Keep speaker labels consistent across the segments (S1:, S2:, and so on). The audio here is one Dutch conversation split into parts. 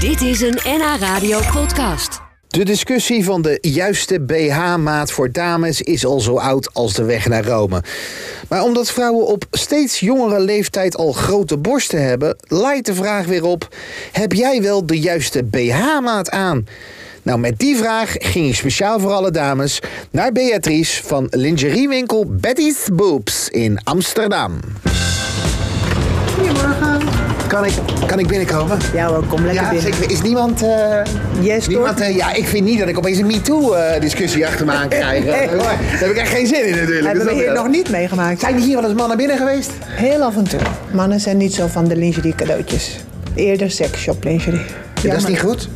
S1: Dit is een NH Radio podcast.
S2: De discussie van de juiste BH-maat voor dames is al zo oud als de weg naar Rome. Maar omdat vrouwen op steeds jongere leeftijd al grote borsten hebben, leidt de vraag weer op: heb jij wel de juiste BH-maat aan? Nou, met die vraag ging ik speciaal voor alle dames naar Beatrice van lingeriewinkel Betty's Boobs in Amsterdam.
S3: Goedemorgen.
S2: Kan ik, kan ik binnenkomen?
S3: Ja hoor, kom lekker
S2: Ja,
S3: binnen.
S2: zeker. Is niemand. eh,
S3: Jij stoort
S2: niemand eh, ja, ik vind niet dat ik opeens een MeToo-discussie achter me aan krijg. Eh,
S3: Nee, hoor.
S2: Daar heb ik echt geen zin in natuurlijk.
S3: Hebben we
S2: Dus dat
S3: hier
S2: wel.
S3: nog niet meegemaakt.
S2: Zijn hier wel eens mannen binnen geweest?
S3: Heel af en toe. Mannen zijn niet zo van de lingerie cadeautjes. Eerder seksshop lingerie. Mm,
S2: dat is niet goed.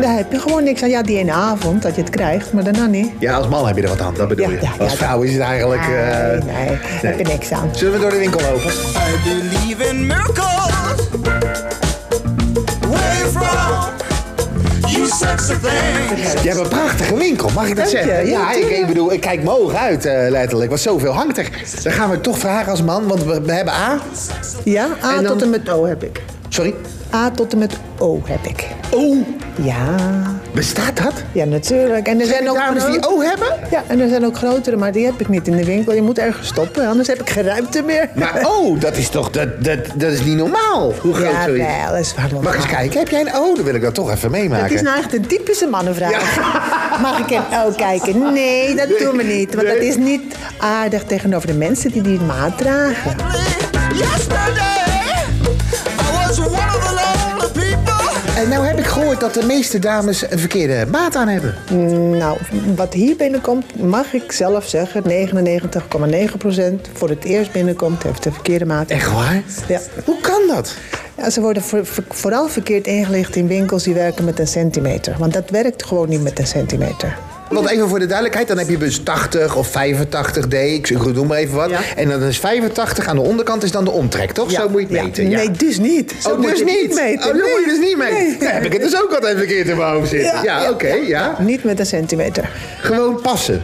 S3: Daar heb je gewoon niks aan. Ja, die ene avond dat je het krijgt, maar daarna niet.
S2: Ja, als man heb je er wat aan, dat bedoel
S3: Ja,
S2: je.
S3: ja,
S2: als
S3: ja,
S2: vrouw is het eigenlijk. eh,
S3: Nee, nee, heb je niks aan.
S2: Zullen we door de winkel lopen?
S4: I believe in miracles. Where you from? You sexy thing.
S2: Je hebt een prachtige winkel, mag ik dat
S3: Dank je,
S2: zeggen?
S3: ja,
S2: ik, ik
S3: tuurlijk.
S2: bedoel, ik kijk mijn ogen uit, eh, letterlijk. Want zoveel hangt er. Dan gaan we toch vragen als man, want we, we hebben A.
S3: Ja, A
S2: En dan-
S3: tot en met O heb ik.
S2: Sorry.
S3: A tot en met O heb ik.
S2: O.
S3: Ja,
S2: Bestaat dat?
S3: ja natuurlijk. En er zijn,
S2: Zijn er
S3: ook
S2: dames die
S3: grote-
S2: O hebben?
S3: Ja, en er zijn ook grotere, maar die heb ik niet in de winkel. Je moet ergens stoppen, anders heb ik geen ruimte meer.
S2: Maar oh, dat is toch, dat, dat, dat is niet normaal. Hoe groot
S3: ja,
S2: zoiets.
S3: wel, is waar normaal.
S2: Mag ik eens kijken, heb jij een O? Dan wil ik dat toch even
S3: Het is
S2: meemaken.
S3: nou echt een typische mannenvraag. Mag ik hem ook kijken? Nee, dat doen we niet. Want dat is niet aardig tegenover de mensen die die maat dragen.
S4: Yesterday, I was one of the lonely people.
S2: En nou heb ik gehoord dat de meeste dames een verkeerde maat aan hebben.
S3: Nou, wat hier binnenkomt, mag ik zelf zeggen... 99,9% voor het eerst binnenkomt, heeft de verkeerde maat.
S2: Echt waar?
S3: Ja.
S2: Hoe kan dat?
S3: Ja, ze worden voor- voor- vooral verkeerd ingelicht in winkels die werken met een centimeter. Want dat werkt gewoon niet met een centimeter.
S2: Want even voor de duidelijkheid, dan heb je dus 80 of 85D, ik ik noem maar even wat.
S3: Ja.
S2: En dan is 85 aan de onderkant is dan de omtrek, toch?
S3: Ja,
S2: Zo moet je het
S3: ja.
S2: meten. Ja.
S3: Nee, dus niet. Zo
S2: oh,
S3: moet
S2: dus
S3: je het
S2: niet.
S3: meten.
S2: Oh, dan
S3: Nee.
S2: moet je dus niet mee.
S3: Nee.
S2: Dan heb ik het dus ook altijd verkeerd in mijn hoofd zitten. Ja,
S3: Ja, ja,
S2: oké, ja.
S3: Niet met een centimeter.
S2: Gewoon passen.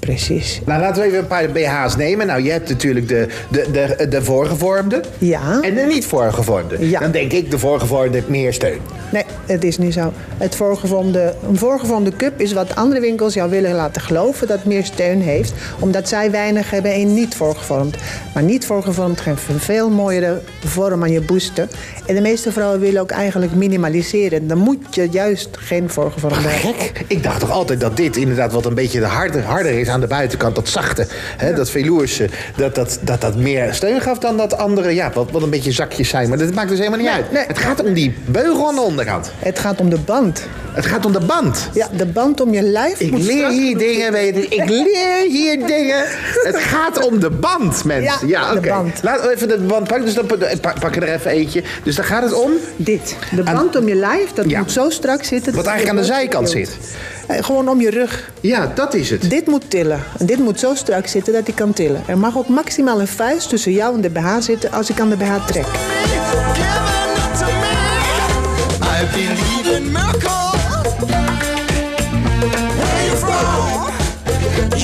S3: Precies.
S2: Nou, laten we even een paar BH's nemen. Nou, je hebt natuurlijk de, de, de, de voorgevormde.
S3: Ja.
S2: En de niet voorgevormde.
S3: Ja.
S2: Dan denk ik, de voorgevormde heeft meer steun.
S3: Nee, het is niet zo. Het voorgevormde, een voorgevormde cup is wat andere winkels jou willen laten geloven dat meer steun heeft. Omdat zij weinig hebben in niet voorgevormd. Maar niet voorgevormd geeft een veel mooiere vorm aan je boesten. En de meeste vrouwen willen ook eigenlijk minimaliseren. Dan moet je juist geen voorgevormde hebben.
S2: Gek. Ik dacht toch altijd dat dit inderdaad wat een beetje de harder, harder is aan de buitenkant. Dat zachte, hè, dat veloerse. Dat dat, dat dat meer steun gaf dan dat andere. Ja, wat, wat een beetje zakjes zijn. Maar dat maakt dus helemaal niet uit.
S3: nee.
S2: Het gaat om die beugel aan de onderkant.
S3: Het gaat om de band.
S2: Het gaat om de band.
S3: Ja, de band om je lijf.
S2: Ik
S3: moet
S2: leer
S3: strak
S2: hier
S3: genoeg
S2: dingen, weet je. Ik leer hier dingen. Het gaat om de band, mensen.
S3: Ja,
S2: Ja,
S3: de
S2: oké.
S3: band.
S2: Laten we even de band pakken. Dus dan pak- pak, pak je er even eentje. Dus dan gaat het om
S3: Dit. De band om je lijf, dat
S2: Ja.
S3: moet zo strak zitten.
S2: wat
S3: dat
S2: eigenlijk aan de
S3: je
S2: zijkant
S3: wilt.
S2: zit.
S3: Eh, Gewoon om je rug.
S2: Ja, dat is het.
S3: Dit moet tillen. En dit moet zo strak zitten dat hij kan tillen. Er mag ook maximaal een vuist tussen jou en de BH zitten als ik aan de BH trek.
S4: Giving it to me. I believe in miracles. Where you from?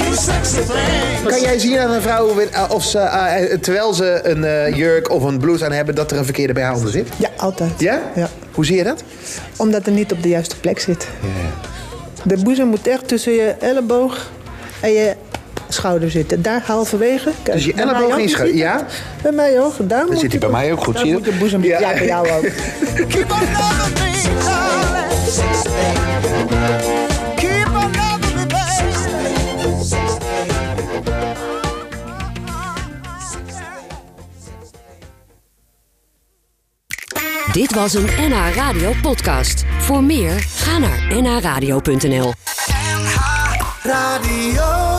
S4: You sexy thing.
S2: Kan jij zien aan een vrouw win- eh, of ze, eh, eh, terwijl ze een eh, jurk of een blouse aan hebben, dat er een verkeerde BH onder zit?
S3: Ja, altijd.
S2: Ja?
S3: Ja.
S2: Hoe zie je dat?
S3: Omdat het niet op de juiste plek zit. De boezem moet echt tussen je elleboog en je schouder zitten. Daar halverwege. Kijk,
S2: Dus je
S3: bij mij
S2: elleboog
S3: ook,
S2: en je
S3: je
S2: schouder,
S3: ziet
S2: ja?
S3: het. Bij mij ook. Daar moet
S2: zit hij
S3: je-
S2: bij mij ook goed,
S3: daar
S2: zie je
S3: moet
S2: dat?
S3: je boezem.
S2: Ja.
S3: Ja, bij jou ook.
S4: Keep another me, darling. Keep another me, baby.
S1: Dit was een NH Radio podcast. Voor meer, ga naar nhradio.nl.
S4: Radio.